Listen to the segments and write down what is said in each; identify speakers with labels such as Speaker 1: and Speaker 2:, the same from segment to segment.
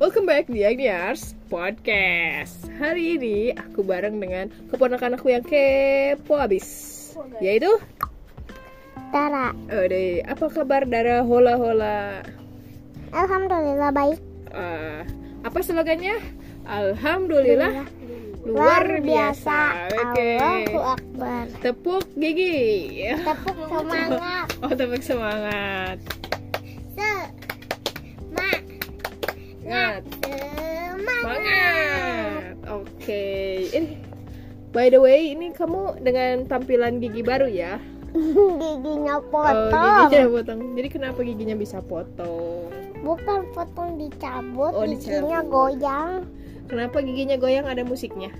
Speaker 1: Welcome back di Agniars Podcast Hari ini aku bareng dengan keponakan aku yang kepo ya? abis Yaitu
Speaker 2: Tara,
Speaker 1: Ode, apa kabar Dara Hola Hola
Speaker 2: alhamdulillah baik.
Speaker 1: Eh, Apa slogannya? Alhamdulillah Luar biasa Oke
Speaker 2: Allahu Akbar.
Speaker 1: Tepuk gigi
Speaker 2: Tepuk semangat.
Speaker 1: Oh tepuk semangat
Speaker 2: Semangat.
Speaker 1: Ngat
Speaker 2: Semangat.
Speaker 1: Semangat Oke Ini By the way, ini kamu dengan tampilan gigi baru ya?
Speaker 2: Giginya
Speaker 1: Oh,
Speaker 2: potong.
Speaker 1: giginya potong. Jadi kenapa giginya bisa potong?
Speaker 2: Bukan potong dicabut,
Speaker 1: Oh,
Speaker 2: giginya
Speaker 1: dicabut.
Speaker 2: goyang.
Speaker 1: Kenapa giginya goyang ada musiknya?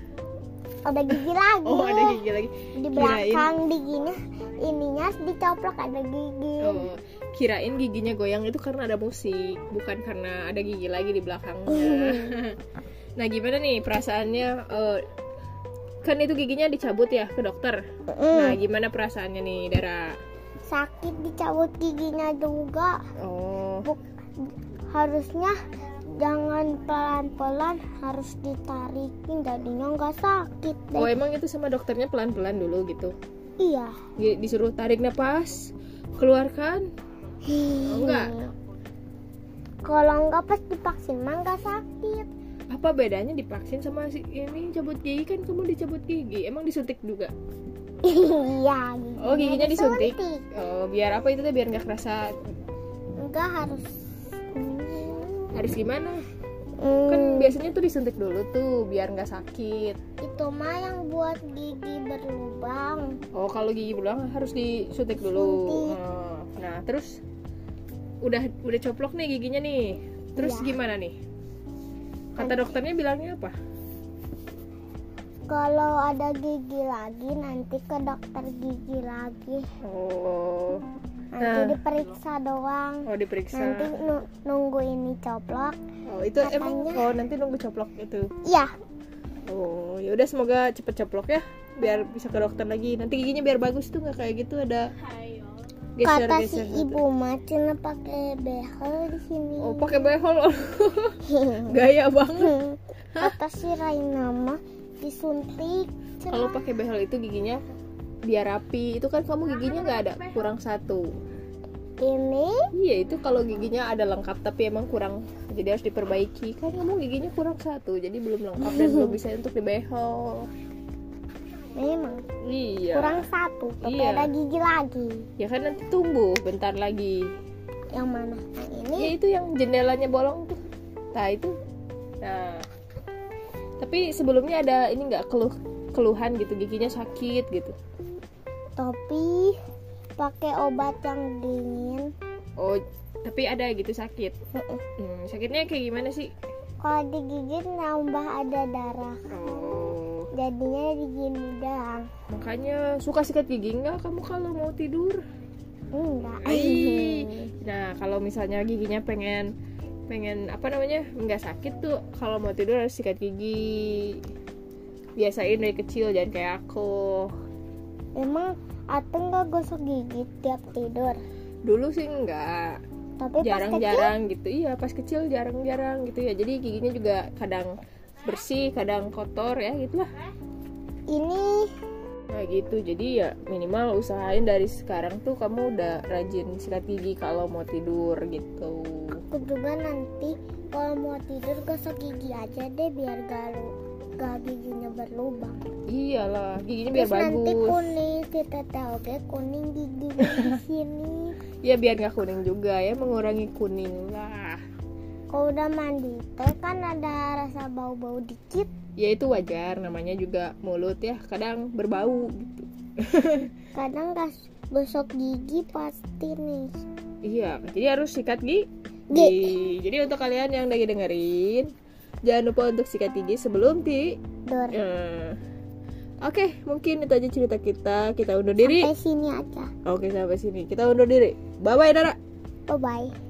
Speaker 2: Ada gigi lagi.
Speaker 1: Oh, ada gigi lagi.
Speaker 2: Di belakang giginya ininya dicoplok ada gigi.
Speaker 1: Oh, kirain giginya goyang itu karena ada musik, bukan karena ada gigi lagi di belakangnya. nah, gimana nih perasaannya? eh, kan itu giginya dicabut ya ke dokter. Nah,
Speaker 2: Mm.
Speaker 1: gimana perasaannya nih, Dara?
Speaker 2: Sakit dicabut giginya juga.
Speaker 1: Oh,
Speaker 2: harusnya jangan pelan-pelan harus ditarikin jadinya nggak sakit deh.
Speaker 1: oh emang itu sama dokternya pelan-pelan dulu gitu.
Speaker 2: iya
Speaker 1: Gi- Disuruh tarik nafas, keluarkan. Oh, enggak.
Speaker 2: kalau nggak pas divaksin mah nggak sakit
Speaker 1: apa bedanya divaksin sama si ini cabut gigi kan kamu dicabut gigi emang disuntik juga
Speaker 2: iya
Speaker 1: oh giginya disuntik
Speaker 2: disuntik.
Speaker 1: oh biar apa itu teh biar nggak kerasa
Speaker 2: nggak harus
Speaker 1: harus gimana
Speaker 2: Hmm,
Speaker 1: kan biasanya tuh disuntik dulu tuh biar nggak sakit
Speaker 2: itu mah yang buat gigi berlubang
Speaker 1: oh kalau gigi berulang harus disuntik dulu Oh, nah terus udah udah coplok nih giginya nih terus
Speaker 2: Iya.
Speaker 1: gimana nih kata dokternya bilangnya apa
Speaker 2: kalau ada gigi lagi nanti ke dokter gigi lagi
Speaker 1: oh
Speaker 2: nanti
Speaker 1: Nah.
Speaker 2: diperiksa doang
Speaker 1: oh diperiksa
Speaker 2: nanti nu- nunggu ini coplok
Speaker 1: oh itu emang
Speaker 2: katanya-
Speaker 1: oh nanti nunggu coplok itu
Speaker 2: iya
Speaker 1: Oh, ya udah semoga cepet ceplok ya biar bisa ke dokter lagi. Nanti giginya biar bagus tuh nggak kayak gitu ada geser
Speaker 2: kata si
Speaker 1: geser.
Speaker 2: ibu mah cina pakai behel di sini
Speaker 1: Oh, pakai behel. Gaya banget.
Speaker 2: kata si Raina mah disuntik Cina.
Speaker 1: Kalau pakai behel itu giginya biar rapi. Itu kan kamu giginya nggak ada kurang satu.
Speaker 2: ini
Speaker 1: Iya, itu kalau giginya ada lengkap tapi emang kurang jadi harus diperbaiki. Kan kamu giginya kurang satu, jadi belum lengkap dan belum bisa untuk dibehel.
Speaker 2: memang
Speaker 1: Iya.
Speaker 2: kurang satu tapi
Speaker 1: Iya.
Speaker 2: ada gigi lagi
Speaker 1: Ya kan nanti tumbuh bentar lagi.
Speaker 2: yang mana yang ini
Speaker 1: Ya itu yang jendelanya bolong tuh. Nah itu. Nah. Tapi sebelumnya ada ini nggak keluh keluhan gitu giginya sakit gitu.
Speaker 2: tapi pakai obat yang dingin
Speaker 1: Oh tapi ada gitu sakit.
Speaker 2: Mm-mm.
Speaker 1: Hmm, sakitnya kayak gimana sih?
Speaker 2: kalau digigit nambah ada darah
Speaker 1: Oh
Speaker 2: jadinya digini doang
Speaker 1: makanya suka sikat gigi nggak kamu kalau mau tidur?
Speaker 2: enggak
Speaker 1: Ih. Nah kalau misalnya giginya pengen pengen apa namanya nggak sakit tuh kalau mau tidur harus sikat gigi biasain dari kecil jangan kayak aku
Speaker 2: Emang Ateng gak gosok gigi tiap tidur
Speaker 1: dulu sih enggak
Speaker 2: Tapi Oh, pas kecil
Speaker 1: jarang-jarang gitu iya pas kecil jarang-jarang gitu ya jadi giginya juga kadang bersih kadang kotor ya gitulah
Speaker 2: ini
Speaker 1: nah gitu jadi ya minimal usahain dari sekarang tuh kamu udah rajin sikat gigi kalau mau tidur gitu
Speaker 2: aku juga nanti kalau mau tidur gosok gigi aja deh biar gak, lu- gak giginya berlubang
Speaker 1: iyalah giginya biar
Speaker 2: Terus nanti
Speaker 1: bagus
Speaker 2: kuning kita tahu kuning gigi di sini
Speaker 1: ya biar nggak kuning juga ya mengurangi kuning lah
Speaker 2: Kalau udah mandi teh kan ada rasa bau-bau dikit
Speaker 1: ya itu wajar namanya juga mulut ya kadang berbau gitu
Speaker 2: Kadang gak gosok gigi pasti nih
Speaker 1: Iya, jadi harus sikat gigi.
Speaker 2: Gi.
Speaker 1: Jadi untuk kalian yang lagi dengerin, jangan lupa untuk sikat gigi sebelum ti.
Speaker 2: Dor
Speaker 1: Eh, Oke, mungkin itu aja cerita kita. Kita undur diri.
Speaker 2: Sampai sini aja
Speaker 1: Oke, sampai sini. Kita undur diri. Bye bye, Dara.
Speaker 2: Bye-bye